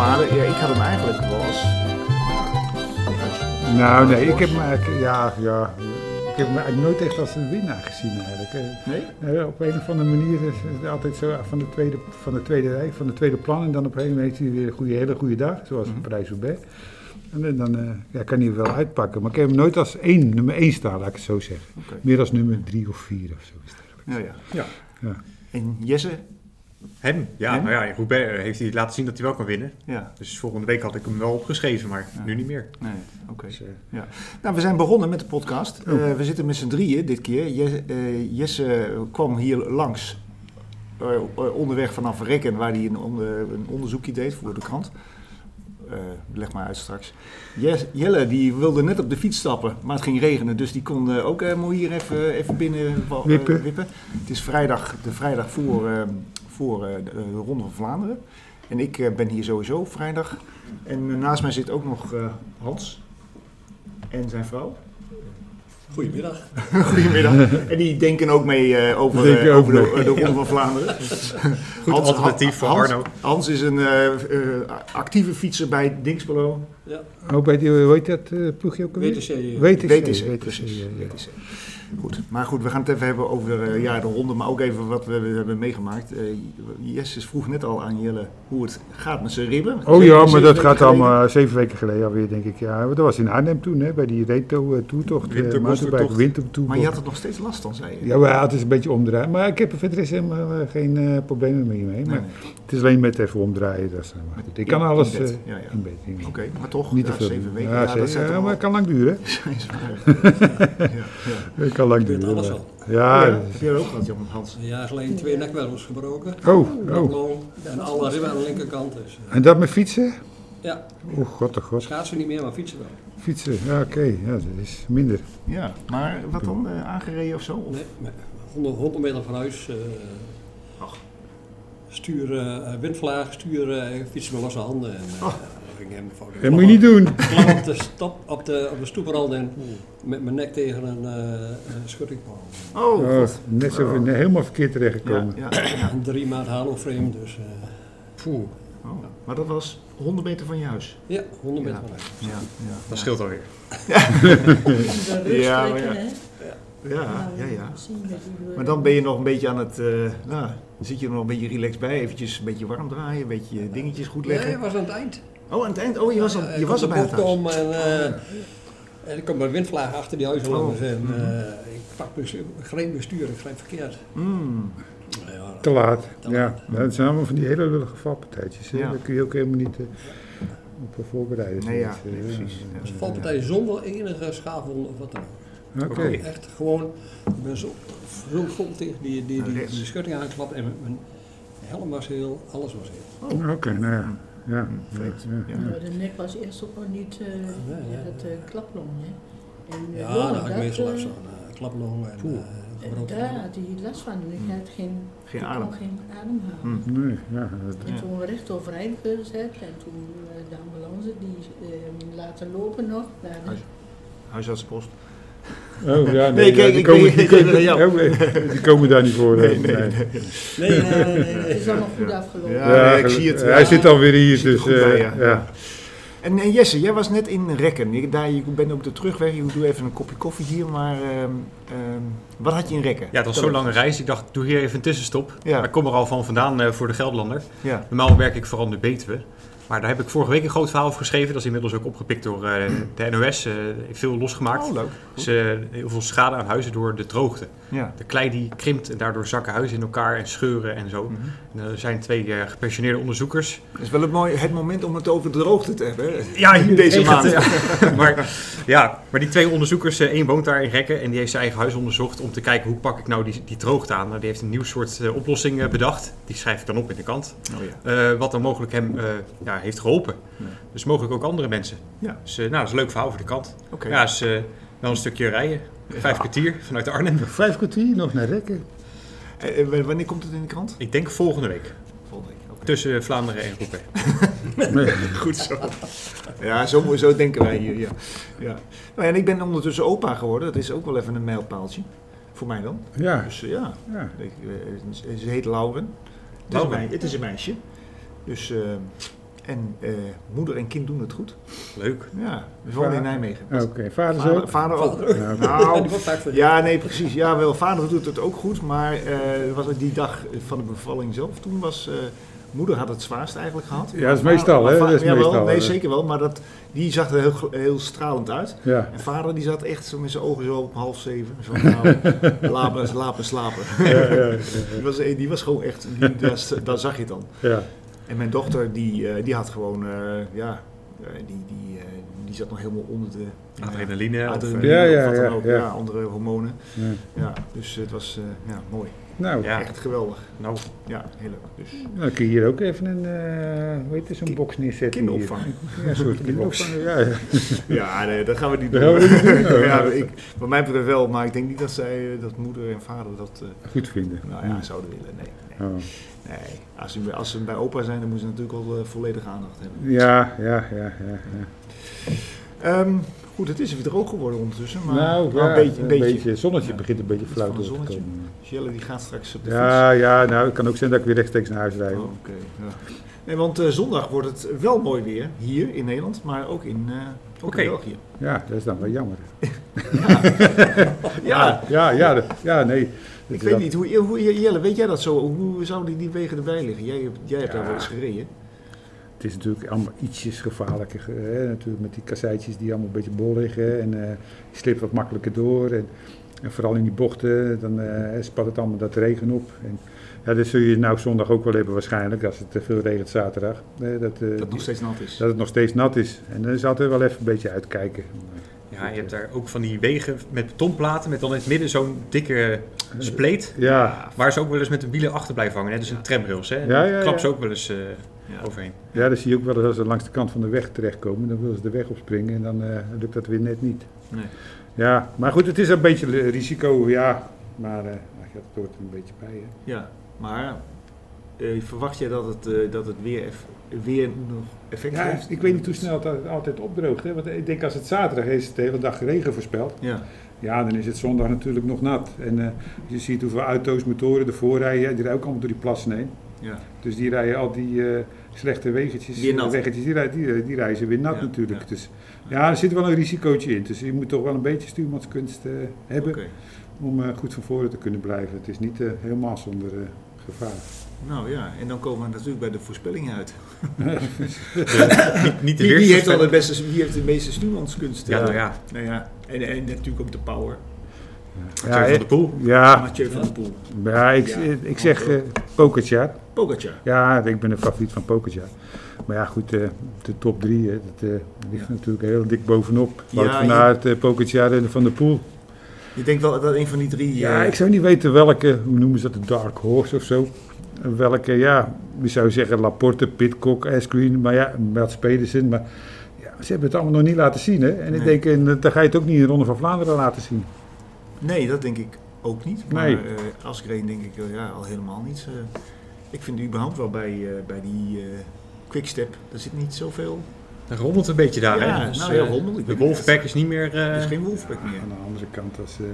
had hem eigenlijk was. Nou, nee, ik heb hem eigenlijk, ja, ja, ik heb hem eigenlijk nooit echt als een winnaar gezien eigenlijk. Eh, Nee? eh, op een of andere manier is het altijd zo van de tweede, van de tweede rij, van de tweede plan. En dan op een gegeven moment heeft hij weer een goede, hele goede dag, zoals Mhm. een Parijs-Roubaix. En dan- dan eh, ja, kan hij hem wel uitpakken. Maar ik heb hem nooit als één, nummer één staan, laat ik het zo zeggen. Oké. Meer als nummer drie of vier of zo. is het eigenlijk. Ja, ja. Ja. Ja. En Jesse? Hem? Ja, Hem? nou ja, in Roubaix heeft hij laten zien dat hij wel kan winnen. Ja. Dus volgende week had ik hem wel opgeschreven, maar Ja. nu niet meer. Nee, oké. Dus, eh, Nou, we zijn begonnen met de podcast. Eh, we zitten met z'n drieën dit keer. Je- eh, Jesse kwam hier langs. eh, eh, onderweg vanaf Rekken, waar hij een, onder- een onderzoekje deed voor de krant. Eh, leg maar uit straks. Jes- Jelle die wilde net op de fiets stappen, maar het ging regenen. Dus die kon eh, ook eh, mooi hier even, even binnen wa- eh, Wippen. wippen. Het is vrijdag, de vrijdag voor, eh, voor eh, de, de Ronde van Vlaanderen. En ik eh, ben hier sowieso vrijdag. En eh, naast mij zit ook nog eh, Hans en zijn vrouw. Goedemiddag. Goedemiddag. En die denken ook mee eh, over, Denken eh, ook over de, mee. de Ronde van Vlaanderen. Goed alternatief voor Hans, Arno. Hans is een eh, eh, actieve fietser bij Dingsbelo. Ja, Ook Oh, bij die, hoe heet dat eh ploegje ook alweer? WTC. eh, Weet ik WTC, ze, weet ik precies. ze, ja, ja. WTC. Goed, maar goed, we gaan het even hebben over eh, ja, de ronde, maar ook even wat we, we hebben meegemaakt. Eh Jesse vroeg net al aan Jelle hoe het gaat met zijn ribben. Oh Zeven- ja, maar zeven dat weken gaat geleden. allemaal eh, zeven weken geleden alweer, denk ik. Ja, dat was in Arnhem toen, hè, bij die eh, Reto-toertocht. Wintermonstertocht. Maar je had het nog steeds last van, zei je. Ja, maar het is een beetje omdraaien. Maar ik heb er verder is helemaal eh, geen eh, problemen meer mee. Nee, Maar nee. het is alleen met even omdraaien. Dat is, eh, maar goed. Ik kan In- in alles bed, eh, ja, ja. in bed. in- Oké, maar toch, Niet ja, te veel. zeven doen. weken. Ja, Ja, dat zeker. zijn Ja, toch maar wel- het kan lang duren. zijn zware- ja, ja. Het kan lang Ik weet duren. alles maar- al. Ja. Ja, dus- dat heb jij dat ook gehad, Jan Hans? Een jaar geleden twee nekwervels gebroken. is- Oh, oh. Knokloon En alle ribben aan de linkerkant. Dus. eh, En dat met fietsen? Ja, Oh god, oh god. schaatsen niet meer, maar fietsen wel. Fietsen, ja, oké. Ja, dat is minder. Ja, maar wat dan? eh, aangereden of zo? Of? Nee, nee. 100, 100 meter van huis. eh, Ach. Stuur, eh, windvlaag, stuur, eh fietsen met losse handen. En, eh, dat ging helemaal fout. Dat moet je niet doen. Klap op de, stap, op de, op de stoeprand en Hmm. met mijn nek tegen een eh, een schutting. Oh, Oh, God. net zo nee, helemaal verkeerd terechtgekomen. Ja, ja, ja. Een drie maand haloframe, dus eh, poeh. Oh, maar dat was 100 meter van je huis. Ja, 100 meter Ja. van huis. Ja, ja. Dat scheelt alweer. Ja, Ja, ja, maar ja. hè? Nou, Ja, ja, ja. Zien met die woorden. Maar dan ben je nog een beetje aan het, eh, nou, dan zit je er nog een beetje relaxed bij. Eventjes een beetje warm draaien, een beetje dingetjes goed Nee, leggen. het was aan het eind. Oh, aan het eind, oh, je was, al, Oh, Eh, je ik was op er de bij het bocht huis. om en, eh, en ik kom bij windvlaag achter die huizen Oh. langs en eh, ik pak dus, ik greep bestuur, ik greep verkeerd. Mm, Ja, Te laat. Te Ja, laat. dat zijn allemaal van die hele lullige valpartijtjes. hè. Ja. Daar kun je ook helemaal niet eh, op eh, voorbereiden. Nee, ja, Zoiets, eh, nee, precies. ja. Ja. valpartij zonder enige schaafwond of wat dan ook. Nou, Oké. Oké. Echt gewoon, ik ben zo, zo vol tegen die, die, die, die, Rechts. schutting aanklapt en mijn, mijn helm was heel, alles was heel. Oké, nou ja. Ja, ja, vreemd. ja. Oh. Mm, Ja. Maar de nek was eerst ook nog niet eh Nee, ja. dat eh, klaplong, hè? En, eh, Ja, Loren, daar had ik dat, meestal eh, last van. eh, klaplong en Poeh. eh, eh, gebroken Daar had hij last van. Ik Hmm. had geen, Geen ik kon adem. geen adem halen. Mm. Nee, ja. dat- En Ja. toen recht overeind gezet en toen eh, de ambulance die eh, laten lopen nog. Nou, Naar de, Huis. Huisartsenpost. Oh, ja, nee, Nee, ja, kijk, die ik- komen, ik- die, ik- komen, ik- ja. oh, nee, die komen daar niet voor. Nee, nee, Nee, nee, nee, nee, nee. het is allemaal goed afgelopen. Ja. ik zie het, Hij ja. zit alweer hier, Zit er dus goed bij, eh, ja. ja. En eh, Jesse, jij was net in Rekken. Je, daar, je bent op de terugweg. Je doet even een kopje koffie hier. Maar ehm, ehm, wat had je in Rekken? Ja, het was Vertel zo'n lange reis. Ik dacht, doe hier even een tussenstop. Ja. Maar ik kom er al van vandaan eh, voor de Gelderlander. eens. Ja. Normaal werk ik vooral in de Betuwe. Maar daar heb ik vorige week een groot verhaal over geschreven. Dat is inmiddels ook opgepikt door eh, de NOS. eh, veel losgemaakt. Oh, leuk. Dus eh, heel veel schade aan huizen door de droogte. Ja. De klei die krimpt en daardoor zakken huizen in elkaar en scheuren en zo. Mhm. En er zijn twee eh, gepensioneerde onderzoekers Het is wel het, mooie, het moment om het over de droogte te hebben. hè? Ja, In deze regent, maand. ja. maar, ja, maar die twee onderzoekers, eh, één woont daar in Rekken en die heeft zijn eigen huis onderzocht om te kijken hoe pak ik nou die, die droogte aan. Nou, die heeft een nieuw soort eh, oplossing eh, bedacht. Die schrijf ik dan op in de kant. Oh, ja. Eh, wat dan mogelijk hem eh, ja, heeft geholpen. Ja. Dus mogelijk ook andere mensen. Ja. Dus eh, nou, dat is een leuk verhaal voor de kant. Oké. Ja, is eh, wel een stukje rijden. Vijf kwartier vanuit Arnhem. Vijf kwartier nog naar rekken. Eh, eh, w- wanneer komt het in de krant? Ik denk volgende week. Volgende week. Oké. Tussen eh, Vlaanderen en Roubaix. Goed zo. Ja, zo, zo denken wij hier. Ja. Ja. Nou, ja, en ik ben ondertussen opa geworden. Dat is ook wel even een mijlpaaltje. Voor mij dan. Ja, Dus eh, ja, ja. Ik, eh, ze heet Lauren. Het is, een Lauren. mei- het is een meisje. Dus eh, En eh, moeder en kind doen het goed. Leuk. Ja, we wonen in Waar? Nijmegen. Oké, vaders Vader, ook? vader ook. Ja, oké. Ja, die Nou, wordt vaak voor ja, nee, precies. Ja, wel, vader doet het ook goed. Maar eh, was het die dag van de bevalling zelf toen was... eh, moeder had het zwaarst eigenlijk gehad. Ja, dat is meestal, hè? Maar va- Dat is jawel, meestal. nee, hè. zeker wel. Maar dat, die zag er heel, gl- heel stralend uit. Ja. En vader die zat echt zo met zijn ogen zo op half zeven. Zo nou, lapen, lapen, slapen. Ja, ja, ja, Die was, eh, die was gewoon echt... Die, dat, dat zag je dan. ja. En mijn dochter, die, eh, die had gewoon, eh, ja, eh, die, die, eh, die zat nog helemaal onder de eh, Adrenaline. of, eh, adrenaline Ja, ja, of wat dan ja, ook, ja. ja. andere hormonen. ja. Ja, dus het was eh, ja, mooi. Nou, Ja. Echt geweldig. nou, Ja, heel leuk. Dus dan Nou, kun je hier ook even een, eh hoe heet het, zo'n Ki- box neerzetten. hier. kinderopvang. Ja, een soort kinderopvang. Ja, ja. Ja, nee, dat gaan we niet Dat doen. gaan we niet doen. ja, ik, wat mij betreft wel, maar ik denk niet dat zij, eh, dat moeder en vader dat, eh, Goed vinden. nou ja, zouden willen. Nee, nee. Oh. nee. Als, ze, als ze bij opa zijn, dan moeten ze natuurlijk wel eh, volledige aandacht hebben. Ja, ja, ja, ja. ja. Ehm, goed, het is weer droog geworden ondertussen, maar nou, wel ja, een beetje. Een beetje. Zonnetje Ja. begint een beetje Iets flauw van een door te zonnetje. komen. Jelle die gaat straks op de fiets. Ja, ja, nou, het kan ook zijn dat ik weer rechtstreeks naar huis rijd. Oh, Oké. ja. Nee, want eh, zondag wordt het wel mooi weer hier in Nederland, maar ook in, eh, ook Oké. in België. Ja, dat is dan wel jammer. Ja, Ja, ja, dat- ja nee. dat is ik weet dan- niet. Hoe, hoe, Jelle, weet jij dat zo? Hoe zouden die wegen erbij liggen? Jij, hebt- jij hebt daar Ja. wel eens gereden. Het is natuurlijk allemaal ietsjes gevaarlijker. eh, Hè? Natuurlijk met die kasseitjes die allemaal een beetje bol liggen. En eh je slipt wat makkelijker door. En, en vooral in die bochten, dan eh, spat het allemaal dat regen op. En, ja, dat zul je nou zondag ook wel hebben waarschijnlijk, als het te veel regent zaterdag. Eh, dat, eh, Dat nog steeds nat is. dat het nog steeds nat is. En dan is altijd wel even een beetje uitkijken. ja, je hebt daar ook van die wegen met betonplaten met dan in het midden zo'n dikke spleet. Ja, Waar ze ook wel eens met de wielen achter blijven hangen. Hè? Dus een tramrails. Hè? Ja, ja, Daar klap ze ja. ook wel eens eh, Ja. overheen. ja, dat zie je ook wel eens als ze langs de kant van de weg terechtkomen. Dan willen ze de weg opspringen en dan eh, lukt dat weer net niet. Nee. Ja, maar goed, het is een beetje eh, risico, ja. Maar eh dat hoort er een beetje bij, hè. Ja, maar eh, verwacht jij dat het, eh, dat het weer, eff- weer nog effect Ja, heeft? ik weet niet hoe snel het al- altijd opdroogt. Hè? Want ik denk als het zaterdag is, het de hele dag regen voorspeld. Ja, Ja, dan is het zondag natuurlijk nog nat. En eh, je ziet hoeveel auto's, motoren ervoor rijden. Die rijden ook allemaal door die plassen heen. ja. Dus die rijden al die eh, slechte weggetjes, Weer nat. weggetjes die, rijden, die, die rijden ze weer nat Ja, natuurlijk. ja. Dus ja, er zit wel een risicootje in. Dus je moet toch wel een beetje stuurmanskunst eh, oké. hebben om eh, goed van voren te kunnen blijven. Het is niet eh, helemaal zonder eh, gevaar. Nou ja, en dan komen we natuurlijk bij de voorspellingen uit. Niet, niet de Wie, wie heeft weersvoorspelling. al de beste, wie heeft de meeste stuurmanskunst? Ja, eh, nou ja. Nou ja, en, en natuurlijk ook de power. Mathieu van de Poel. ja, Mathieu van der Poel. ja, ik, ik zeg eh Pokertjaar. Pogacar. Ja, ik ben een favoriet van Pokertje. Maar ja, goed, eh, de top drie, hè, dat eh, ligt Ja. natuurlijk heel dik bovenop. Ja, Wout van je- Aert, eh, Pogacar en Van der Poel. Je denkt wel dat een van die drie... Ja, eh, ik zou niet weten welke, hoe noemen ze dat, de Dark Horse of zo. Welke, ja, je zou zeggen Laporte, Pitcock, Asgreen, maar ja, Mats Pedersen. Maar ja, ze hebben het allemaal nog niet laten zien, hè. En ik Nee. denk, en, eh, dan ga je het ook niet in de Ronde van Vlaanderen laten zien. Nee, dat denk ik ook niet. Maar Nee. eh, als ik reed, denk ik eh, ja, al helemaal niet. eh. ik vind überhaupt wel bij, eh, bij die eh, quickstep, daar zit niet zoveel... Dan rommelt een beetje daar. ja, hè? Dus, nou eh, ja, rommel. Ik de weet Wolfpack is niet meer... eh, niet. Er is geen Wolfpack Ja, meer. Aan de andere kant, als, eh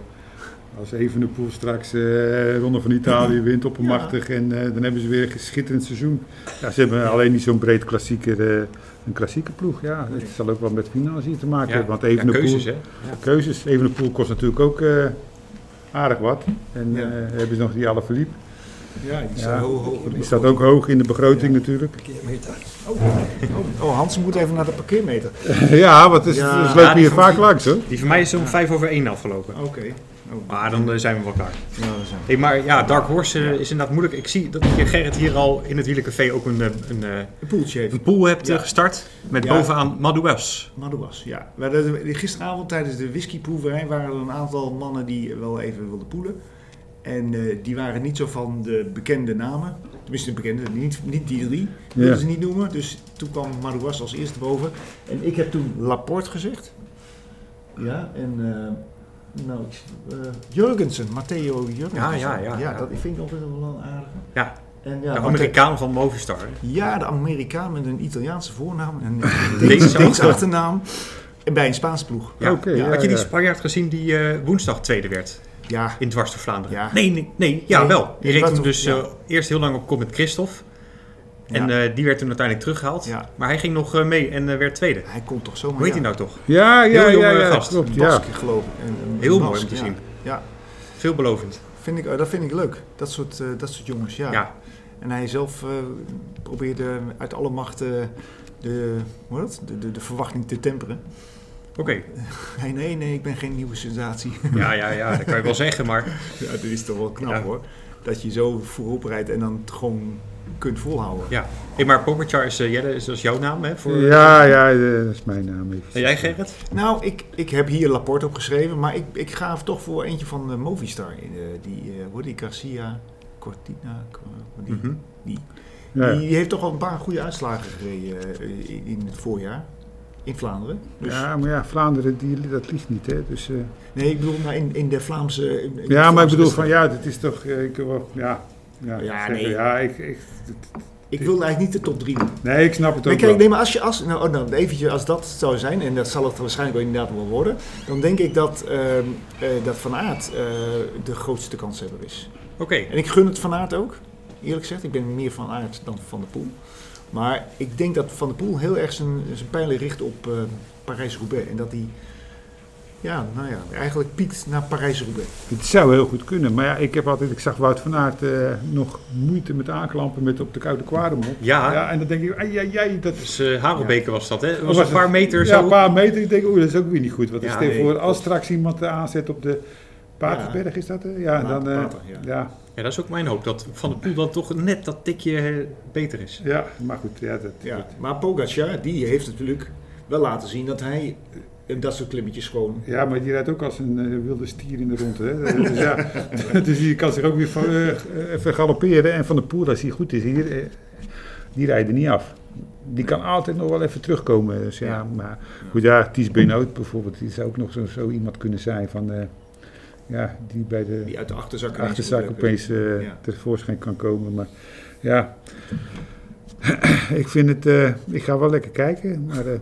als Evenepoel straks eh Ronde van Italië wint op een Ja. machtig en eh, dan hebben ze weer een geschitterend seizoen. Ja, ze hebben alleen niet zo'n breed klassieker, eh, een klassieke ploeg. Ja, Nee. het zal ook wel met financiën te maken ja, hebben. Want ja, Evenepoel, keuzes, hè? keuzes. Evenepoel kost natuurlijk ook eh, aardig wat. En Ja. eh, hebben ze nog die alle verliep. Ja, die Ja, staat heel hoog. in de Die staat ook hoog in de begroting natuurlijk. parkeermeter. begroting. Oh, Hans moet even naar de parkeermeter. ja, want ze Ja. ze Ja, lopen die hier van- vaak langs hoor. Die van mij is om vijf over één afgelopen. Oké. Oh, Maar dan eh, zijn we wel klaar. nou, daar zijn we. Hey, maar ja, Dark Horse eh, is inderdaad moeilijk. Ik zie dat je Gerrit hier al in het wielencafé ook een, eh, een, eh, Een poeltje heeft. een pool hebt Ja. eh, gestart. Met Ja. bovenaan Madouas. Madouas, ja. Maar dat- Gisteravond tijdens de whiskyproeverij waren er een aantal mannen die wel even wilden poelen. En eh, die waren niet zo van de bekende namen. Tenminste, de bekende, niet, niet die drie. Die wilden Ja. ze niet noemen. Dus toen kwam Madouas als eerste boven. En ik heb toen Laporte gezegd. Ja, en... eh, nou, ik, eh, Jurgensen, Matteo Jurgensen. Ja, ja, ja, ja. dat vind ik altijd wel een aardige. Ja. En De ja, Matteo- Amerikaan van Movistar. hè? ja, de Amerikaan met een Italiaanse voornaam en een Deense Deense achternaam. achternaam. En bij een Spaans ploeg. Ja. Oké, Ja, Had je die ja. Spanjaard gezien die eh, woensdag tweede werd Ja, in Dwars door Vlaanderen? Ja. Nee, nee, nee, ja Nee, wel. Die die reed was toen toch- dus ja. eh, eerst heel lang op kop met Christophe. En eh, die werd toen uiteindelijk teruggehaald. Ja. Maar hij ging nog eh, mee en eh, werd tweede. Hij komt toch zomaar. Hoe heet ja. hij nou toch? Ja, ja, Heel ja, jonge ja, gast. klopt. Een Ja. Baskje, geloof ik. En, een- Heel een mooi Bask, om te ja. zien. Ja, Veelbelovend. vind ik, eh, dat vind ik leuk. Dat soort, eh, dat soort jongens, ja. Ja. En hij zelf eh, probeerde uit alle macht eh, de, hoe heet dat? De, de, de verwachting te temperen. Oké. Nee, nee, nee, ik ben geen nieuwe sensatie. Ja, ja, ja, dat kan je wel zeggen, maar Ja, dat is toch wel knap Ja. hoor. Dat je zo voorop rijdt en dan het gewoon kunt volhouden. ja. Hey, maar Pogacar is, eh, Jelle, is, dat is jouw naam, hè? Voor... Ja, ja, eh, dat is mijn naam. even. En jij, Gerrit? Nou, ik, ik heb hier Laporte op geschreven, maar ik, ik ga toch voor eentje van eh, Movistar. eh, die, eh hoe heet die Garcia Cortina, eh, die, Mhm. die, Ja. die heeft toch al een paar goede uitslagen gereden eh, in- in het voorjaar. In Vlaanderen. Dus, Ja, maar ja, Vlaanderen, die, dat ligt niet, hè. Dus, eh, Nee, ik bedoel, maar in, in de Vlaamse... in- in de ja, maar ik Vlaamse bedoel van, wedstrijd. ja, dat is toch... eh, Ik, wil- ja, ja, Ja, zeggen, nee. ja ik, ik, Ik wil eigenlijk niet de top 3 nee, ik snap het Maar ook kijk, wel. nee, maar als, je, als, nou, oh, nou, eventjes, als dat zou zijn, en dat zal het waarschijnlijk wel inderdaad wel worden, dan denk ik dat, ehm, eh, dat Van Aert eh, de grootste kanshebber is. Oké. En ik gun het Van Aert ook, eerlijk gezegd. Ik ben meer Van Aert dan Van der Poel. Maar ik denk dat Van der Poel heel erg zijn, zijn pijlen richt op eh, Parijs-Roubaix. En dat hij, ja, nou ja, eigenlijk piekt naar Parijs-Roubaix. Het zou heel goed kunnen, maar ja, ik, heb altijd, ik zag Wout van Aert eh, nog moeite met aanklampen met op de koude kwaremond. Ja. ja. En dan denk ik, ai, ai, ai, dat Dus eh Harelbeke was dat, hè? Het was, was een paar het- meter ja, zo. een paar meter. Ik denk, oeh, dat is ook weer niet goed. Want Ja, stel je nee, voor, als klopt. straks iemand eh, aanzet op de Paterberg, is dat? eh? Ja, Pater- Nou, dan... eh, Pater, ja. ja. Ja, Ja, dat is ook mijn hoop, dat Van der Poel dan toch net dat tikje eh, beter is. maar goed. Ja, dat, Ja. Maar Pogacar, die heeft natuurlijk wel laten zien dat hij eh, dat soort klimmetjes gewoon... ja, maar die rijdt ook als een eh, wilde stier in de rondte. Hè? dus, ja, dus die kan zich ook weer van, eh, eh, even galopperen. En Van de Poel, als hij goed is hier, eh, die rijdt er niet af. Die kan altijd nog wel even terugkomen. Dus ja, Ja. maar goed, ja, Ties Benoot bijvoorbeeld, die zou ook nog zo, zo iemand kunnen zijn van... eh, ja, die bij de... Die uit de achterzak ineens achterzak moet, eh, opeens eh Ja. tevoorschijn kan komen. Maar ja, ik vind het. eh, ik ga wel lekker kijken, maar eh,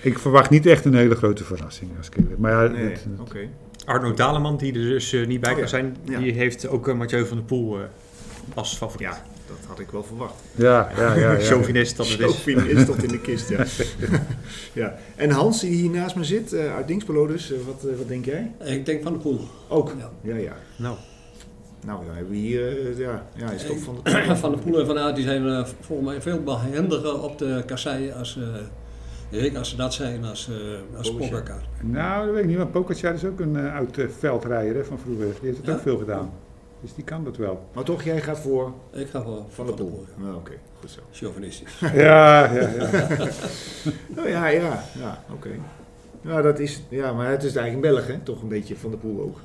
ik verwacht niet echt een hele grote verrassing. Als ik, eerlijk- maar ja, Nee, oh. het- oké. Arno Daleman, die er dus eh, niet bij Oh, kan ja. zijn, Ja. die heeft ook eh, Mathieu van der Poel eh, als favoriet. Ja, dat had ik wel verwacht. ja, ja, ja, ja. Chauvinist dat het is. Chauvinist is tot in de kist, ja. ja. En Hans, die hier naast me zit, eh, uit Dingsbelo dus, eh, wat, eh, wat denk jij? Ik denk van de poel. Ook. Ja, Ja. ja. Nou, Nou, dan hebben we hier, eh, ja, ja, is toch van de... Van de Poel en Van Aert die zijn eh, volgens mij veel behendiger op de kasseien als, eh, ik, als ze dat zijn als, eh als Pogacar. Pogacar. Nou, dat weet ik niet, maar Pogacar is ook een eh, oud eh, veldrijder hè, van vroeger. Die heeft het Ja? ook veel gedaan. Dus die kan dat wel. Maar toch, jij gaat voor Ik ga voor Van der Poel. ja. Nou, oké, goed zo. Chauvinistisch. Ja, ja, ja. Nou ja, ja, ja, oké. Nou, dat is, ja, maar het is eigenlijk een Belg, hè? Toch een beetje van de poel ook.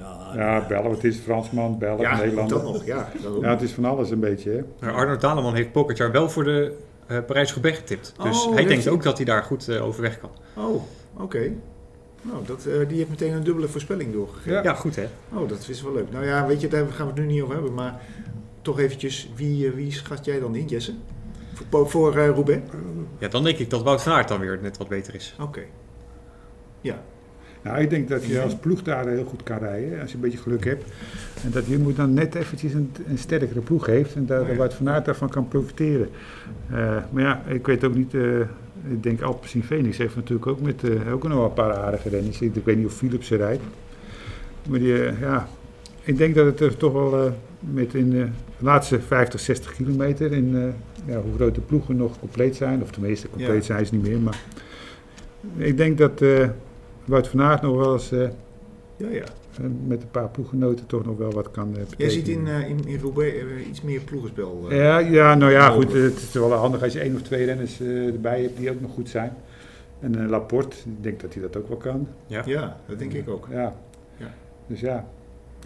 Ja, ja Belg, het is Fransman, Belg, Ja, Nederlander. dat nog, ja. Dat ook. Ja, het is van alles een beetje. Hè. maar eh, Arno Daleman heeft Pogacar wel voor de eh Parijs-Roubaix getipt. Dus Oh, hij heeft denkt hij? ook dat hij daar goed eh, overweg kan. Oh, oké. Nou, dat, eh, die heeft meteen een dubbele voorspelling doorgegeven. Ja. Ja, goed hè. Oh, dat is wel leuk. Nou ja, weet je, daar gaan we het nu niet over hebben. Maar toch eventjes, wie, eh, wie schat jij dan in, Jesse? Voor, Po- voor eh, Roubaix? Ja, dan denk ik dat Wout van Aert dan weer net wat beter is. Oké. Nou, ik denk dat je als ploeg daar heel goed kan rijden, als je een beetje geluk hebt. En dat je moet dan net eventjes een, een sterkere ploeg heeft en daar Oh ja. Wout van Aert daarvan kan profiteren. Eh, maar ja, ik weet ook niet, eh, ik denk Alpecin Phoenix heeft natuurlijk ook, met, eh, ook nog wel een paar aardige renners. Ik, ik weet niet of Philips ze rijdt. Maar die, eh, ja, ik denk dat het er toch wel eh, met in eh, de laatste 50, 60 kilometer, in eh, ja, hoe groot de ploegen nog compleet zijn, of tenminste compleet Ja. zijn ze niet meer, maar ik denk dat... eh, Wout van Aert nog wel eens eh, Ja, ja. met een paar ploeggenoten toch nog wel wat kan eh, Jij betekenen. ziet in, eh, in, in Roubaix eh, iets meer ploegenspel. eh. ja, ja, nou ja, goed. mogelijk. eh, Het is wel handig als je één of twee renners eh, erbij hebt die ook nog goed zijn. En eh, Laporte, ik denk dat hij dat ook wel kan. Ja, dat denk ik ook. Ja. Ja. Dus ja.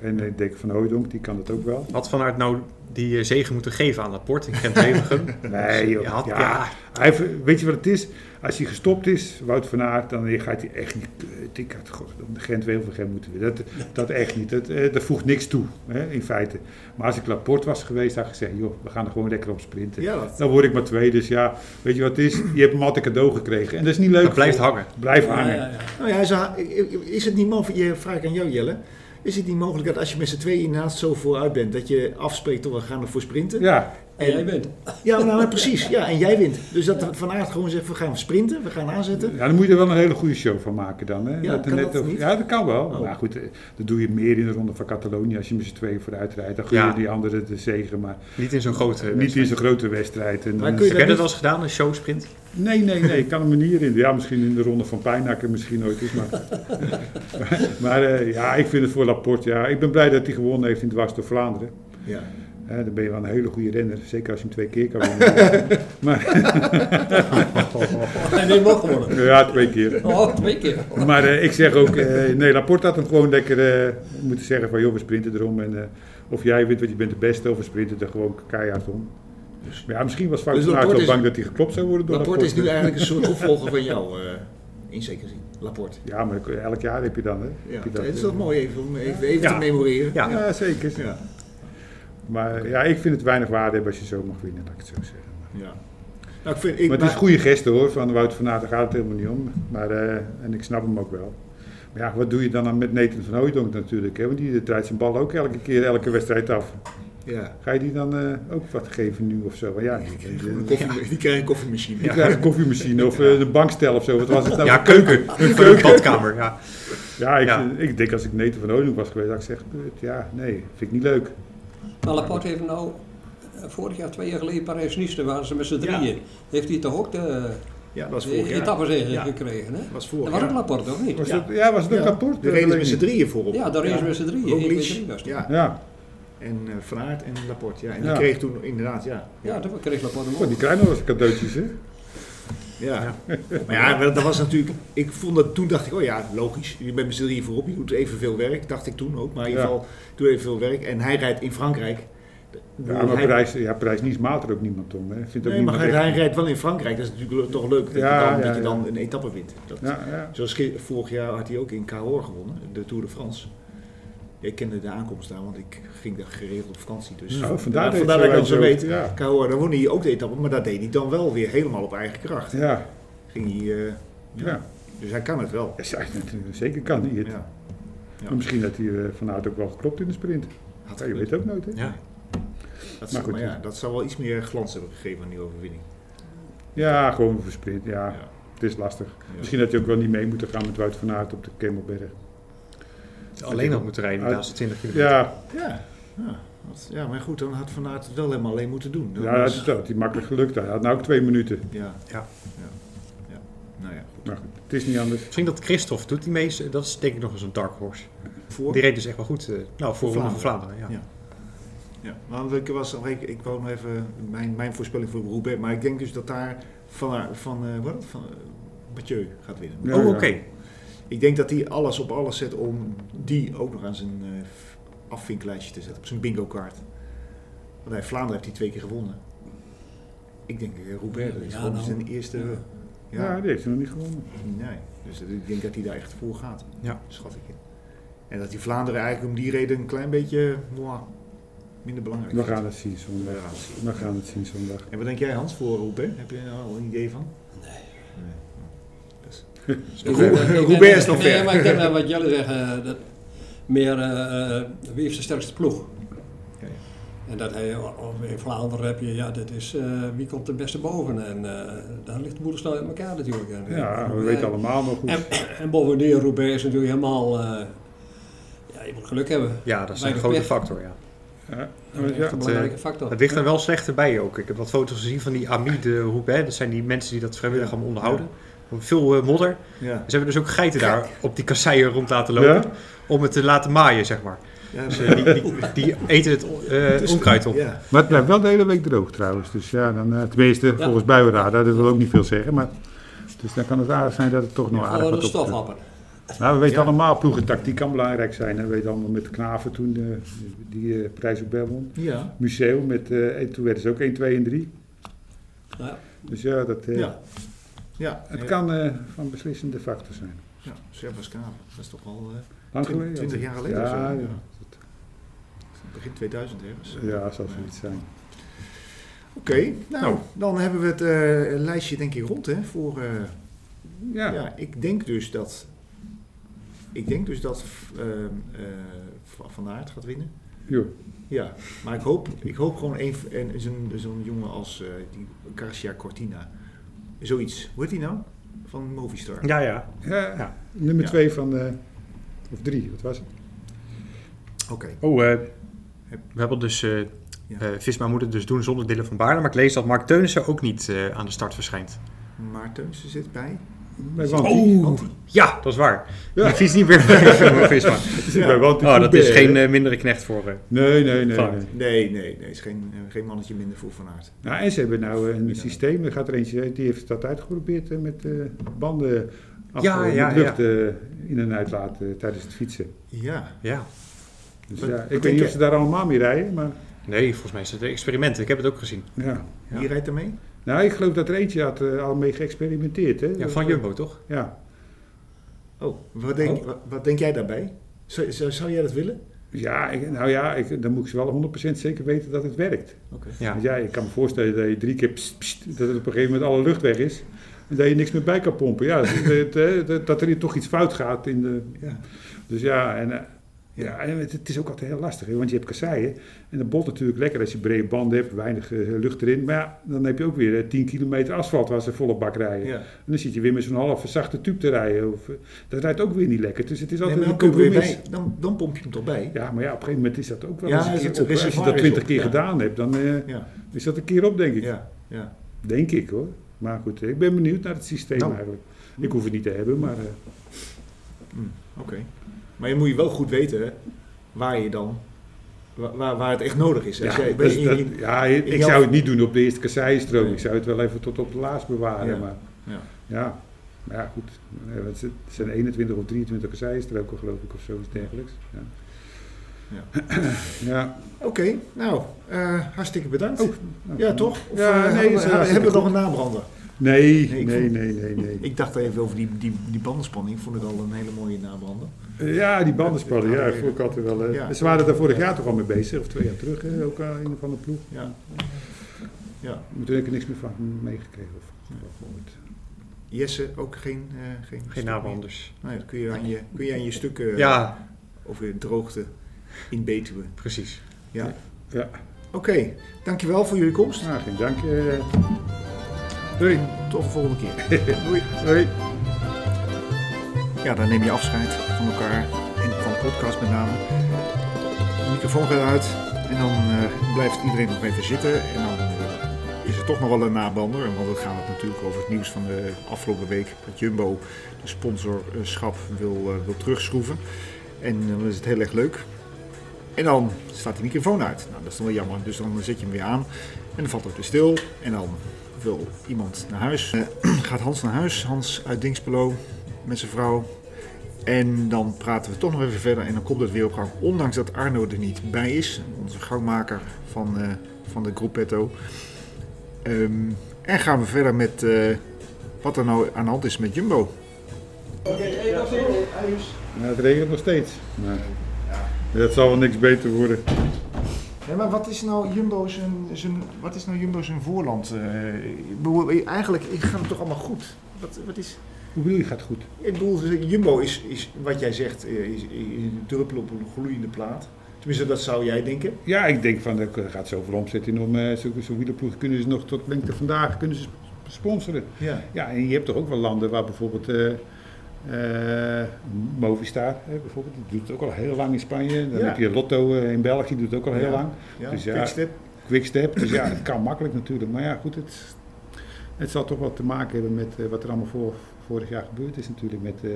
En eh, ik denk van Hooydonk, die kan dat ook wel. Had Van Aert nou die eh, zegen moeten geven aan Laporte in Gent-Wevelgem? Nee, joh. Je had- ja. ja, Hij heeft- weet je wat het is? Als hij gestopt is, Wout van Aert, dan gaat hij echt niet... eh, Kut, ik had God, om de gent wevelgem moeten we. Dat, dat echt niet. Dat, eh, dat voegt niks toe, hè, in feite. Maar als ik Laporte was geweest, had ik gezegd... joh, we gaan er gewoon lekker op sprinten. Ja, dat. Dan word ik maar twee, dus ja, weet je wat het is? Je hebt hem altijd cadeau gekregen. En dat is niet leuk. dat blijft hangen. Blijf hangen. Ja, ja, ja. Nou ja, is, is het niet man, je- vraag ik aan jou Jelle. Is het niet mogelijk dat als je met z'n tweeën naast zo vooruit bent, dat je afspreekt toch we gaan ervoor sprinten? Ja, En jij bent. Ja, nou, nou, precies. Ja, en jij wint. Dus dat Van Aert gewoon zegt, we gaan sprinten, we gaan aanzetten. Ja, dan moet je er wel een hele goede show van maken dan. Hè? Ja, er kan dat niet? ja, dat kan wel. Oh. Maar goed, eh, dat doe je meer in de Ronde van Catalonië. Als je met z'n tweeën vooruit rijdt, dan gun je Ja. die anderen de zegen. Maar Niet in zo'n grote... niet in zo'n grote wedstrijd. En Maar dan kun is- je Heb dat jij dat wel eens gedaan, een showsprint? Nee, nee, nee. Ik kan er manier in. Ja, misschien in de Ronde van Pijnakker, misschien ooit eens. Maar, maar eh, ja, ik vind het voor Laporte. Ja, ik ben blij dat hij gewonnen heeft in Dwars door Vlaanderen. Ja. Hè, dan ben je wel een hele goede renner. Zeker als je hem twee keer kan winnen. maar En die mag worden. ja, twee keer. Oh, twee keer. Maar eh, ik zeg ook, eh, nee, Laporte had hem gewoon lekker eh, moeten zeggen van joh, we sprinten erom. En, eh, of jij wint, want je bent de beste, of we sprinten er gewoon keihard om. Dus, maar ja, misschien was Fout Dus van Aert Laporte wel is- bang dat hij geklopt zou worden door Laporte Laporte. is nu eigenlijk een soort opvolger van jou, eh, in zekere zin. Laporte. Ja, maar dan- elk jaar heb je dan, hè? Ja, Heb je dat, het is eh. toch mooi even, om even, even Ja. te memoreren. Ja. Ja, zeker. Ja. Maar eh, ja, ik vind het weinig waarde hebben als je zo mag winnen, laat ik het zo zeggen. Ja. Nou, ik vind, ik, Maar het is maar- goede gesten hoor, van Wout van Aert, daar gaat het helemaal niet om. Maar, eh, en ik snap hem ook wel. Maar ja, wat doe je dan aan met Nathan van Hooijdonk natuurlijk, hè? Want die draait zijn bal ook elke keer, elke wedstrijd af. Ja. Ga je die dan eh, ook wat geven nu of zo? Want Ja, die, die, Een koffie- Die krijg een koffiemachine. die krijgt een koffiemachine of eh, een bankstel of zo. Wat was het nou? Ja, keuken. Van een badkamer, ja. Ja, ik, Ja. ik denk als ik Nathan van Hooijdonk was geweest, had ik gezegd, "Kut, ja, nee, vind ik niet leuk. Maar Laporte heeft nou, eh, vorig jaar, twee jaar geleden, Parijs-Nice, daar waren ze met z'n drieën. Heeft hij toch ook de Ja, dat was Eh, vorig jaar. Dat etappenzegen Ja. gekregen, hè? was vorig Dat was ook jaar. Laporte, of niet? Was Ja. Dat, ja, was het ook Ja. rapport? De reden is met z'n drieën voorop. Ja, daar is ze met z'n drieën. Eén, twee, drie Roglic, was het. ja, Ja, en eh Van Aert en Laporte. Ja, en Ja. die kreeg toen inderdaad, ja. Ja, dat kreeg Laporte hem Oh, ook. die krijgen nog eens cadeautjes, hè? Ja. Maar ja, wel, dat was natuurlijk. Ik vond dat toen dacht ik, oh ja, logisch. Je bent met z'n drieën voorop, je doet evenveel werk, dacht ik toen ook. Maar in ieder Ja. geval, doe evenveel werk. En hij rijdt in Frankrijk. Ja, maar hij, prijs, ja, prijs niet maalt er ook niemand om. Hè. Vindt nee, ook maar niemand hij, echt- hij rijdt wel in Frankrijk. Dat is natuurlijk le- toch leuk dat, Ja, je, dan, ja, dat je ja. dan een etappe wint. Dat, Ja, ja. Zoals ge- vorig jaar had hij ook in Cahors gewonnen, de Tour de France. Ik kende de aankomst daar, want ik ging daar geregeld op vakantie. Dus Nou, vandaar, deed vandaar hij dat ik dat zo zo- weet. Ja. Cahors, daar won hij ook de etappe, maar dat deed hij dan wel weer helemaal op eigen kracht. Ja, Ging hij, eh, ja. ja. Dus hij kan het wel. ja. zei het natuurlijk. zeker kan hij het. Ja. Maar misschien had hij eh, Van Aert ook wel geklopt in de sprint. Had Ja, je weet gekund. het ook nooit, hè? ja. dat maar zou, goed, maar ja, ja. dat zou wel iets meer glans hebben gegeven aan die overwinning. Ja, gewoon voor sprint, ja. Ja. Het is lastig. Ja. Misschien had hij ook wel niet mee moeten gaan met Wout van Aert op de Kemmelberg. Alleen had moeten rijden de laatste 20 kilometer. Ja, Ja. Ja, dat- ja, maar goed, dan had Van Aert het wel helemaal alleen moeten doen. Dan ja dat, was- is- dat had hij makkelijk gelukt. Hij had nou ook twee minuten. ja. Ja. Ja. Ja. Nou ja, goed. Maar goed, het is niet anders. Misschien dat Christophe doet die meest. Dat is denk ik nog eens een dark horse. Voor- Die reed dus echt wel goed. eh, Nou, voor Ronde van Vlaanderen, ja. Ja. Ja, maar ik, was, oh, ik, ik wou nog even mijn, mijn voorspelling voor Roubaix. Maar ik denk dus dat daar van, van, eh, wat, van eh, Mathieu gaat winnen. Ja, oh, ja. oké. Ik denk dat hij alles op alles zet om die ook nog aan zijn eh, afvinklijstje te zetten. Op zijn bingo kaart. Want hij, Vlaanderen heeft hij twee keer gewonnen. Ik denk eh, Roubaix, dat is Ja, gewoon nou. zijn eerste... Ja. Ja, Ja, die heeft hij nog niet gewonnen. nee. Dus dat- ik denk dat hij daar echt voor gaat. Ja. Schat ik in. En dat die Vlaanderen eigenlijk om die reden een klein beetje moi, minder belangrijk We vindt. gaan het zien zondag. We gaan het zien. We gaan het zien zondag. En wat denk jij Hans voor Roubaix? Heb je daar al een idee van? Nee. Ik Roe- denk- ik denk- Roubaix is nog Nee, ver. maar ik denk dat wat jullie zeggen, dat meer eh, eh, wie heeft de sterkste ploeg? Ja, ja. En dat hij, of in Vlaanderen heb je, ja, dit is eh, wie komt het beste boven. En eh, daar ligt de boel snel uit elkaar natuurlijk. En, Ja, we eh, weten allemaal, maar goed. En, en bovendien, Roubaix is natuurlijk helemaal, eh, ja, je moet geluk hebben. Ja, dat is een Weinig grote pech. factor, ja. Ja, Dat is ja. echt een belangrijke Het factor. ligt er wel slechter bij ook. Ik heb wat foto's gezien van die Amide Roubaix. Dat zijn die mensen die dat vrijwillig allemaal onderhouden. Veel eh, modder. Ja. Ze hebben dus ook geiten daar op die kasseien rond laten lopen. Ja? Om het te laten maaien, zeg maar. Ja, Dus, eh, die, die, die eten het eh, onkruid op. Ja. Maar het blijft wel de hele week droog trouwens. Dus ja, dan, eh, tenminste, volgens buienradar, dat wil ook niet veel zeggen. Maar, dus dan kan het aardig zijn dat het toch nog aardig Gewoon een wordt op. stofhapper. Nou, we weten Ja. allemaal, ploegentactiek kan belangrijk zijn. Hè. We weten allemaal met Knaven toen eh, die eh prijs op Bel won. Ja. Museum, met, eh, en toen werden ze ook 1, 2 en 3. Nou ja. Dus ja, dat, eh, Ja. Ja. het Ja. kan eh, van beslissende factor zijn. Ja, Servus Kamer. Dat is toch al eh, Lang Twin- geleden. 20 jaar geleden of zo. Ja, Ja. ja. begin 2000 ergens. Oké, ja zal zoiets zijn. nou, dan hebben we het eh, lijstje denk ik rond hè, voor... eh, Ja, ja. ik denk dus dat Ik denk dus dat eh, eh, Van Aert gaat winnen. Joh. Ja, maar ik hoop, ik hoop gewoon een, en zo'n, zo'n jongen als eh die Garcia Cortina. Zoiets. Hoe heet die nou? Van Movistar. Ja, ja. Ja, Ja. nummer Ja. twee van, eh, of drie, wat was het? Oké. Oh, eh, we hebben dus... eh Ja. eh, Visma moet het dus doen zonder Dylan van Baarle. Maar ik lees dat Mark Teunissen ook niet eh, aan de start verschijnt. Maarten, ze zit bij. Bij Wanty. Wanty. Ja, dat is waar. Ja. Die fiets niet meer voor Visma. Ja. Bij Wanty Oh, dat is Courbet. geen eh, mindere knecht voor... eh. Nee, nee, nee. Vaart. nee. Nee, nee, nee. Is geen, eh, geen mannetje minder voor Van Aert. Nou, en ze hebben nou een Ja. systeem, er gaat er eentje, die heeft dat uitgeprobeerd eh, met eh, banden af, Ja, eh, ja, met lucht eh, in en uit laten tijdens het fietsen. Ja. ja. Dus Wat- ja, wat ik weet denk niet of je? ze daar allemaal mee rijden, maar Nee, volgens mij is het een experiment. Ik heb het ook gezien. ja. Ja. Wie rijdt er mee? Nou, ik geloof dat er eentje had eh, al mee geëxperimenteerd. Hè? Ja, van Jumbo, toch? Ja. Oh, wat denk, Wat, wat denk jij daarbij? Zou, zou, zou jij dat willen? Ja, ik- nou ja, ik, dan moet ik ze wel 100% zeker weten dat het werkt. Oké. Ja. Want ja, ik kan me voorstellen dat je drie keer pst, pst, dat het op een gegeven moment alle lucht weg is. En dat je niks meer bij kan pompen. Ja, dat, dat- dat, dat er hier toch iets fout gaat. In de, Ja. Dus ja, en, eh, ja, en het, het is ook altijd heel lastig. hè, want je hebt kasseien. En dat bot natuurlijk lekker als je brede banden hebt, weinig eh, lucht erin. Maar ja, dan heb je ook weer eh, 10 kilometer asfalt waar ze volle bak rijden. Ja. En dan zit je weer met zo'n half zachte tube te rijden. Of, eh, dat rijdt ook weer niet lekker. Dus het is Nee, altijd maar dan, een kom je weer compromis. bij, dan, dan pomp je hem toch bij? Ja, maar ja, op een gegeven moment is dat ook wel Ja, eens een is keer het- op. is hè. het Als je waar, dat is 20 het, keer ja. gedaan hebt, dan eh, Ja. is dat een keer op, denk ik. Ja. ja. Denk ik hoor. Maar goed, ik ben benieuwd naar het systeem Nou. eigenlijk. Ik hoef het niet te hebben, maar... eh, Oké. Maar je moet je wel goed weten hè, waar je dan... wa- Waar, waar het echt nodig is. Als ja, jij, dat is- in- dat- in- ja, ik in jouw- zou het niet doen op de eerste kasseienstrook. Nee. Ik zou het wel even tot op de laatst bewaren. Ja, Maar, ja. ja, maar ja, goed. Eh, want Het zijn 21 of 23 kasseienstroken geloof ik of zoiets dergelijks. Ja. ja. Oké, nou, eh, hartstikke bedankt. Oh, nou, ja, toch? Of, Ja, eh, nee, hebben is we- hebben hartstikke we nog een nabrander? Nee, Nee, nee, ik nee, vond- nee, nee. Ik dacht even over die, die, die bandenspanning. Vond ik al een hele mooie nabrander. Eh, Ja, die bandenspannen, ja, voel ik altijd wel. eh. Ja. Ze waren daar vorig jaar toch al mee bezig, of twee jaar terug, hè, ook aan een van de ploeg. Ja. ja. Maar toen heb ik er niks meer van meegekregen. Of, gehoord. Jesse, ook geen... eh, geen Geen naam anders. Nee, dat kun je aan je, kun je, aan je stukken Ja, over droogte in Betuwe. precies. Ja. Ja. Oké, dankjewel voor jullie komst. Nou, geen dank. eh. Doei. Tot de volgende keer. Doei. Hoi. Ja, dan neem je afscheid van elkaar en van de podcast met name. De microfoon gaat uit en dan eh, blijft iedereen nog even zitten. En dan eh, is er toch nog wel een nabander, want dan gaat het natuurlijk over het nieuws van de afgelopen week. Dat Jumbo de sponsorschap wil, eh, wil terugschroeven. En dan is het heel erg leuk. En dan staat die microfoon uit. Nou, dat is dan wel jammer. Dus dan zet je hem weer aan en dan valt het weer stil. En dan wil iemand naar huis. Eh, gaat Hans naar huis, Hans uit Dingspelo met zijn vrouw. En dan praten we toch nog even verder en dan komt het weer op gang. Ondanks dat Arno er niet bij is, onze gangmaker van, eh, van de Gruppetto. Ehm, en gaan we verder met eh, wat er nou aan de hand is met Jumbo. Nou, het regent nog steeds. Maar, Dat zal wel niks beter worden. Ja, maar wat is nou Jumbo zijn, zijn, wat is nou Jumbo zijn voorland? Eh, ik bedoel, eigenlijk gaat het toch allemaal goed? Wat, wat is... Hoe bedoel je, gaat goed? Ik bedoel, Jumbo is, is wat jij zegt, eh, is, is een druppel op een gloeiende plaat. Tenminste, dat zou jij denken. Ja, ik denk van, er gaat zoveel omzet in om eh, zo- zo'n wielerploeg kunnen ze nog tot lengte vandaag kunnen ze sp- sponsoren. Ja. Ja, en je hebt toch ook wel landen waar bijvoorbeeld eh, eh, Movistar, hè, bijvoorbeeld, die doet het ook al heel lang in Spanje. Dan Ja. heb je Lotto eh, in België, die doet het ook al heel Ja. lang. ja. Dus ja. Quickstep. Quickstep, dus ja, het kan makkelijk natuurlijk. Maar ja, goed, het, het zal toch wat te maken hebben met eh, wat er allemaal voor, vorig jaar gebeurd is natuurlijk. Met, eh,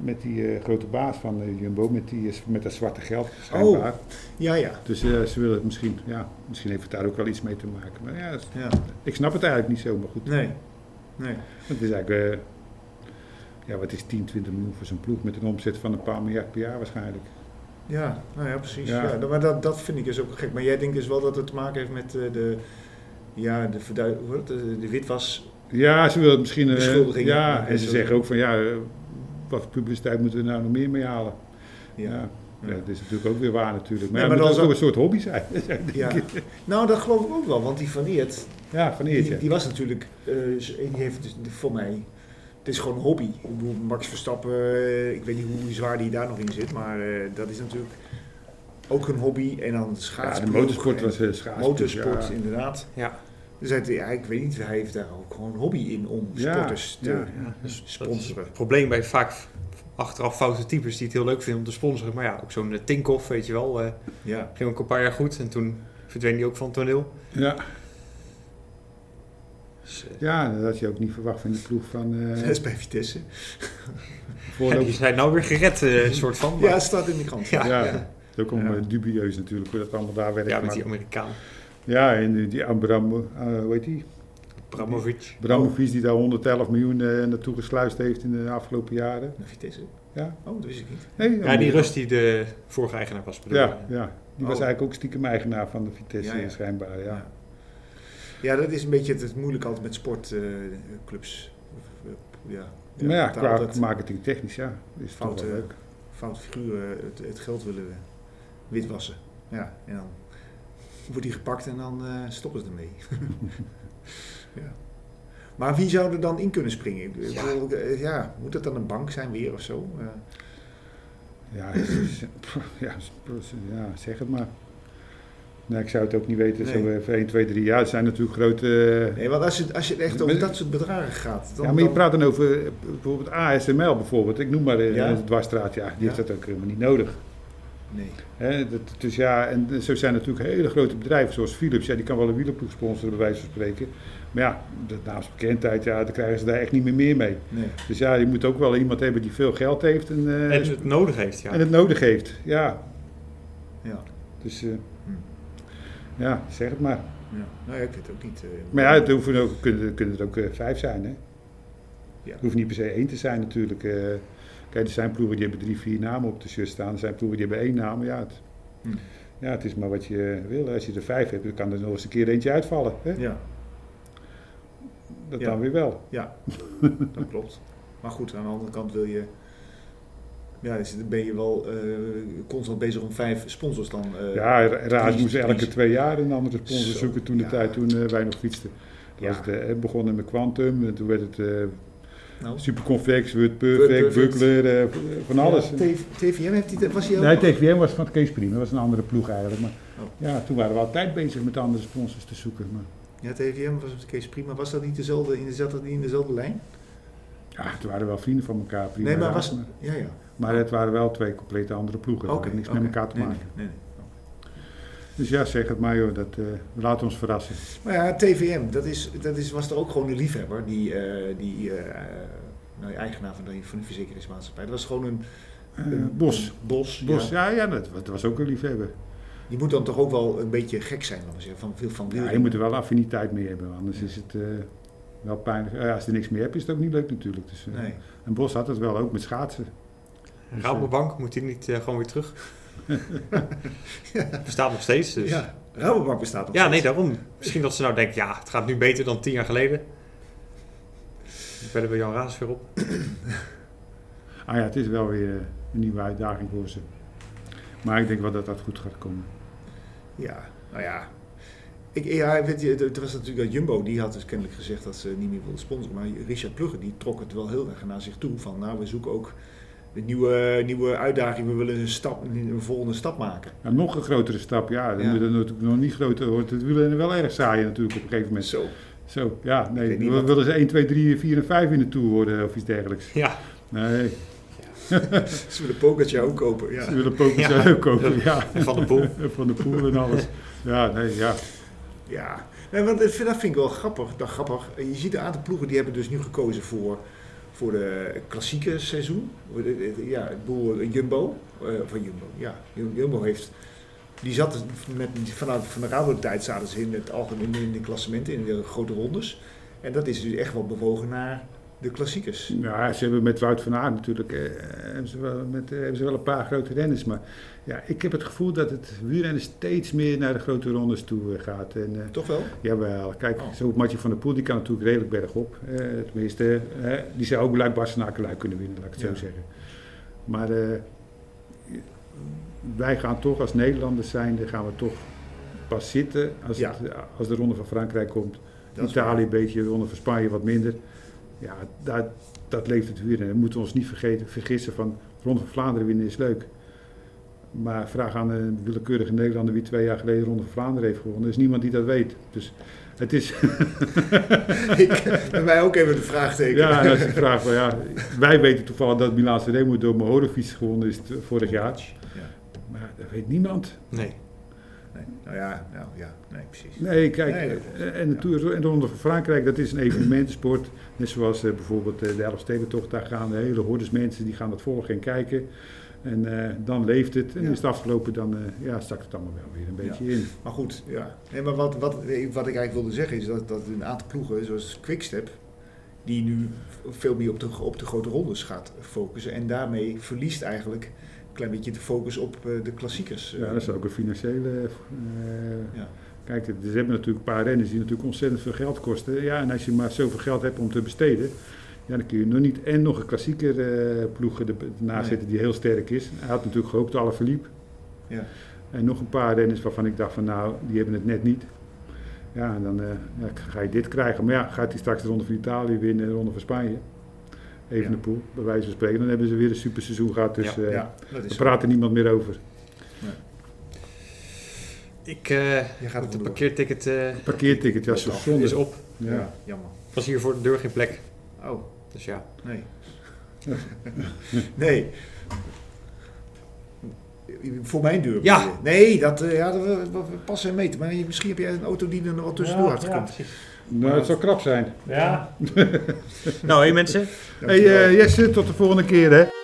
met die eh, grote baas van eh, Jumbo, met, die, eh, met dat zwarte geld schijnbaar. Ja, ja. Dus eh, ze willen het misschien, ja, misschien heeft het daar ook wel iets mee te maken. Maar ja, ja. ik snap het eigenlijk niet zo, maar goed. Nee. nee. Het is eigenlijk, eh, ja, wat is 10, 20 miljoen voor zo'n ploeg met een omzet van een paar miljard per jaar waarschijnlijk. Ja, nou ja, precies. Ja. Ja. maar dat, dat vind ik dus ook gek. Maar jij denkt dus wel dat het te maken heeft met eh, de, ja, de, verdui- hoe heet het? eh, de, de witwas. Ja, ze willen het misschien. eh, Beschuldigingen. ja, en ze zeggen ook van ja, eh, wat voor publiciteit moeten we nou nog meer mee halen? Ja. Ja. ja. dat is natuurlijk ook weer waar natuurlijk. Maar, Nee, ja, maar het moet dan ook een soort hobby zijn. Ja. Nou, dat geloof ik ook wel, want die van Eert, ja, van die, eertje. die was natuurlijk, eh, die heeft dus voor mij de is gewoon een hobby. Ik bedoel, Max Verstappen, eh, ik weet niet hoe zwaar die daar nog in zit, maar eh, dat is natuurlijk ook een hobby. En dan Ja, schaatsen. de motorsport was eh, schaatsploeg, Motorsport, ja. inderdaad. Ja. Dus hij, ja, ik weet niet, hij heeft daar ook gewoon een hobby in om Ja, sporters te ja, Dus dat is sponsoren. het probleem bij vaak achteraf foute types die het heel leuk vinden om te sponsoren. Maar ja, ook zo'n eh, Tinkoff, weet je wel. eh, Ja. ging ook een paar jaar goed en toen verdween die ook van het toneel. Ja. Dus, eh, ja, dat had je ook niet verwacht van die ploeg van Dat eh is bij Vitesse. die voorlopig. zijn nou weer gered, eh, soort van. Maar, Ja, ja, het staat in de krant. Ja. Ja, het is ook om, Ja. eh, dubieus natuurlijk hoe dat allemaal daar werkt. met maar- die Amerikaan. ja en die, die Abram, eh, hoe heet die? Bramovic. Bramovic die daar 111 miljoen eh, naartoe gesluist heeft in de afgelopen jaren. Naar Vitesse? Ja. Oh, dat wist ik niet. Nee, Ja, die Amerika. rust die de vorige eigenaar was, bedoel Ja, ik. ja. Die was Oh. eigenlijk ook stiekem eigenaar van de Vitesse Ja, ja. schijnbaar. Ja. Ja. Ja, dat is een beetje het, het moeilijke altijd met eh, sportclubs. eh, ja. maar ja, dat eh, daar qua altijd marketing technisch, ja. Is toch wel Foute- leuk. foute figuren eh, het, het geld willen witwassen. Ja, en dan wordt die gepakt en dan eh, stoppen ze ermee. ja. Maar wie zou er dan in kunnen springen? Ik Ja. bedoel, eh, ja, moet dat dan een bank zijn weer of zo? Eh, Ja, het is- pff, ja, het is- ja, zeg het maar. Nee, ik zou het ook niet weten. Zo eh, Nee. even 1, 2, 3 jaar. Het zijn natuurlijk grote... eh, nee, want als je, als je echt over Maar- dat soort bedragen gaat... Dan, ja, maar je dan- praat dan over eh, bijvoorbeeld ASML bijvoorbeeld. Ik noem maar eh, Ja. een dwarsstraat. Ja, die Ja. heeft dat ook helemaal niet nodig. Nee. Hè, dat, dus ja, en zo zijn natuurlijk hele grote bedrijven zoals Philips. Ja, die kan wel een wielerploeg sponsoren bij wijze van spreken. Maar ja, de naamsbekendheid, ja, daar krijgen ze daar echt niet meer meer mee. nee. Dus ja, je moet ook wel iemand hebben die veel geld heeft en, eh, En het nodig heeft, ja. en het nodig heeft. Ja, Ja. dus eh, Hm. ja, zeg het maar. Ja. Nou ja, ik weet het ook niet. eh, Maar ja, het hoeven ook, kunnen, kunnen het ook eh, vijf zijn, hè? Ja. Het hoeft niet per se één te zijn natuurlijk. eh. kijk, er zijn ploegen die hebben drie, vier namen op de shirt staan. Er zijn ploegen die hebben één naam. Ja, het, Hm. ja, het is maar wat je wil. Als je er vijf hebt, dan kan er nog eens een keer eentje uitvallen. Hè? ja. Dat Ja. dan weer wel. Ja, dat klopt. Maar goed, aan de andere kant wil je. Ja, dus dan ben je wel eh, constant bezig om vijf sponsors dan. eh, ja, Ra- Raad Dries, moest elke Dries. twee jaar een andere sponsor Zo, zoeken toen de ja. tijd toen eh, wij nog fietsten. Ja. Toen was het eh, begonnen met Quantum, en toen werd het eh nou, Superconvex, Word Word Perfect, Perfect. Buckler, eh, v- van alles. Ja, T- TVM heeft die, was die ook? Nee, nog? TVM was van het Kees Prima, dat was een andere ploeg eigenlijk. Maar Oh. ja, toen waren we altijd bezig met andere sponsors te zoeken. Maar Ja, TVM was op de case prima. Was dat niet dezelfde, in dezelfde, zat dat niet in dezelfde lijn? ja, toen waren we wel vrienden van elkaar. Prima nee, maar raad, was. maar, Ja, ja. maar het waren wel twee complete andere ploegen. Dat had niks oké. met elkaar te Nee, maken. Nee, nee, nee. Dus ja, zeg het maar joh, dat, eh, we laten ons verrassen. Maar ja, TVM, dat, is, dat is, was er ook gewoon een liefhebber, die, eh, die eh, nou, eigenaar van die, van die verzekeringsmaatschappij. Dat was gewoon een. Eh, een- Bos. een Bos, Bos, ja. ja, ja dat, dat was ook een liefhebber. Je moet dan toch ook wel een beetje gek zijn, laten we zeggen, van veel van Ja, je moet er wel affiniteit mee hebben, anders is het eh, wel pijnlijk. Eh, als je niks meer hebt, is het ook niet leuk natuurlijk. Dus, eh, Nee. En Bos had het wel ook met schaatsen. Dus, eh, Rabobank, moet die niet eh, gewoon weer terug? Bestaat nog steeds, dus. Ja, Rabobank bestaat nog Ja, nee, steeds. daarom. Misschien dat ze nou denkt, ja, het gaat nu beter dan tien jaar geleden. Verder bij Jan Raas weer op. Ah ja, het is wel weer eh, een nieuwe uitdaging voor ze. Maar ik denk wel dat dat goed gaat komen. Ja, nou ja. Ik, ja, weet je, het was natuurlijk dat Jumbo, die had dus kennelijk gezegd dat ze niet meer wilde sponsoren. Maar Richard Plugge, die trok het wel heel erg naar zich toe. Van, nou, we zoeken ook een nieuwe, nieuwe uitdaging. We willen een, stap, een volgende stap maken. Ja, nog een grotere stap, ja. Dan Ja. moet het natuurlijk nog niet groter wordt. Het wielrennen wel erg saai natuurlijk op een gegeven moment. Zo. Zo, ja, Ik nee. weet niet Dan wat- willen ze 1, 2, 3, 4 en 5 in de Tour worden eh, of iets dergelijks. Ja, Nee, Ze willen Pogacar ook kopen, ja. ze willen Pokémon Ja. ook kopen, ja. van de poel. Van de poel en alles. Ja, nee, ja. Ja, nee, want ik vind- dat vind ik wel grappig. Nou, grappig. Je ziet een aantal ploegen die hebben dus nu gekozen voor, voor de klassieke seizoen. Voor de- de- Ja, ik bedoel, Jumbo. eh, van Jumbo, ja. Jum- Jumbo heeft... Die zat met, vanuit van de Rabo-tijd zaten ze in het algemeen in de klassementen, in de grote rondes. En dat is dus echt wel bewogen naar de klassiekers. Ja, Nou, ze hebben met Wout van Aert natuurlijk eh, hebben ze wel, met, eh, hebben ze wel een paar grote renners. Maar ja, ik heb het gevoel dat het wielrennen steeds meer naar de grote rondes toe eh, gaat. En, eh, Toch wel? Jawel, kijk, Oh. zo Matje van der Poel die kan natuurlijk redelijk bergop. Eh, tenminste, eh, die zou ook luik Bastenaken luik kunnen winnen, laat ik het Ja. zo zeggen. Maar eh, wij gaan toch als Nederlanders zijnde, gaan we toch pas zitten als, Ja. het- als de Ronde van Frankrijk komt. Dat is Italië een beetje, de Ronde van Spanje wat minder. Ja, daar, dat leeft het huur. En we moeten ons niet vergeten, vergissen van Rond van Vlaanderen winnen is leuk. Maar vraag aan een willekeurige Nederlander wie twee jaar geleden Ronde van Vlaanderen heeft gewonnen. Er is niemand die dat weet. Dus het is, Ik, bij mij ook even de vraagteken. ja, dat is de vraag. van, ja, wij weten toevallig dat Milaan Remo door Mohorovic gewonnen is t- vorig jaar. Ja. Maar dat weet niemand. Nee. Nee, nou ja, nou ja, nee, precies. Nee, kijk, Nee, dat klopt. eh, en de Tour en de Ronde van Frankrijk, dat is een evenementensport. Net zoals eh, bijvoorbeeld eh, de Elfstedentocht, daar gaan hele hordes mensen, die gaan dat volgen en kijken. En eh, dan leeft het. En Ja. is het afgelopen, dan eh, ja, stak het allemaal wel weer een beetje in. Maar goed, ja. Nee, maar wat, wat, wat ik eigenlijk wilde zeggen is dat, dat een aantal ploegen, zoals Quickstep, die nu veel meer op de, op de grote rondes gaat focussen. En daarmee verliest eigenlijk een klein beetje de focus op eh, de klassiekers. Ja, dat is ook een financiële. eh, Ja. Kijk, er er hebben natuurlijk een paar renners die natuurlijk ontzettend veel geld kosten. Ja, en als je maar zoveel geld hebt om te besteden, ja, dan kun je nog niet en nog een klassieker eh, ploeg er- ernaast Nee. zetten die heel sterk is. Hij had natuurlijk gehoopt alle verliep. Ja. En nog een paar renners waarvan ik dacht van nou, die hebben het net niet. Ja, en dan eh, ja, ga je dit krijgen. Maar ja, gaat hij straks de Ronde van Italië winnen, de Ronde van Spanje? Even Ja. de poel, bij wijze van spreken. Dan hebben ze weer een super seizoen gehad. Dus eh ja, dat daar is praat er niemand meer over. Ik, eh Je gaat het vandoor. parkeerticket eh, Parkeerticket, ja, zo Klopt zonde. is op. Ja. Ja. jammer. Was hier voor de deur geen plek. Oh, Dus ja. nee. nee. Voor mijn deur. Ja. bedoel je? Nee, dat, eh, ja, dat, we- we- we passen en meten. Maar misschien heb jij een auto die er nog wat tussendoor had ja, gekomen. precies. Nou, het zou krap zijn. Ja. nou, hé mensen. Dank Hey je wel. eh, Jesse, tot de volgende keer hè.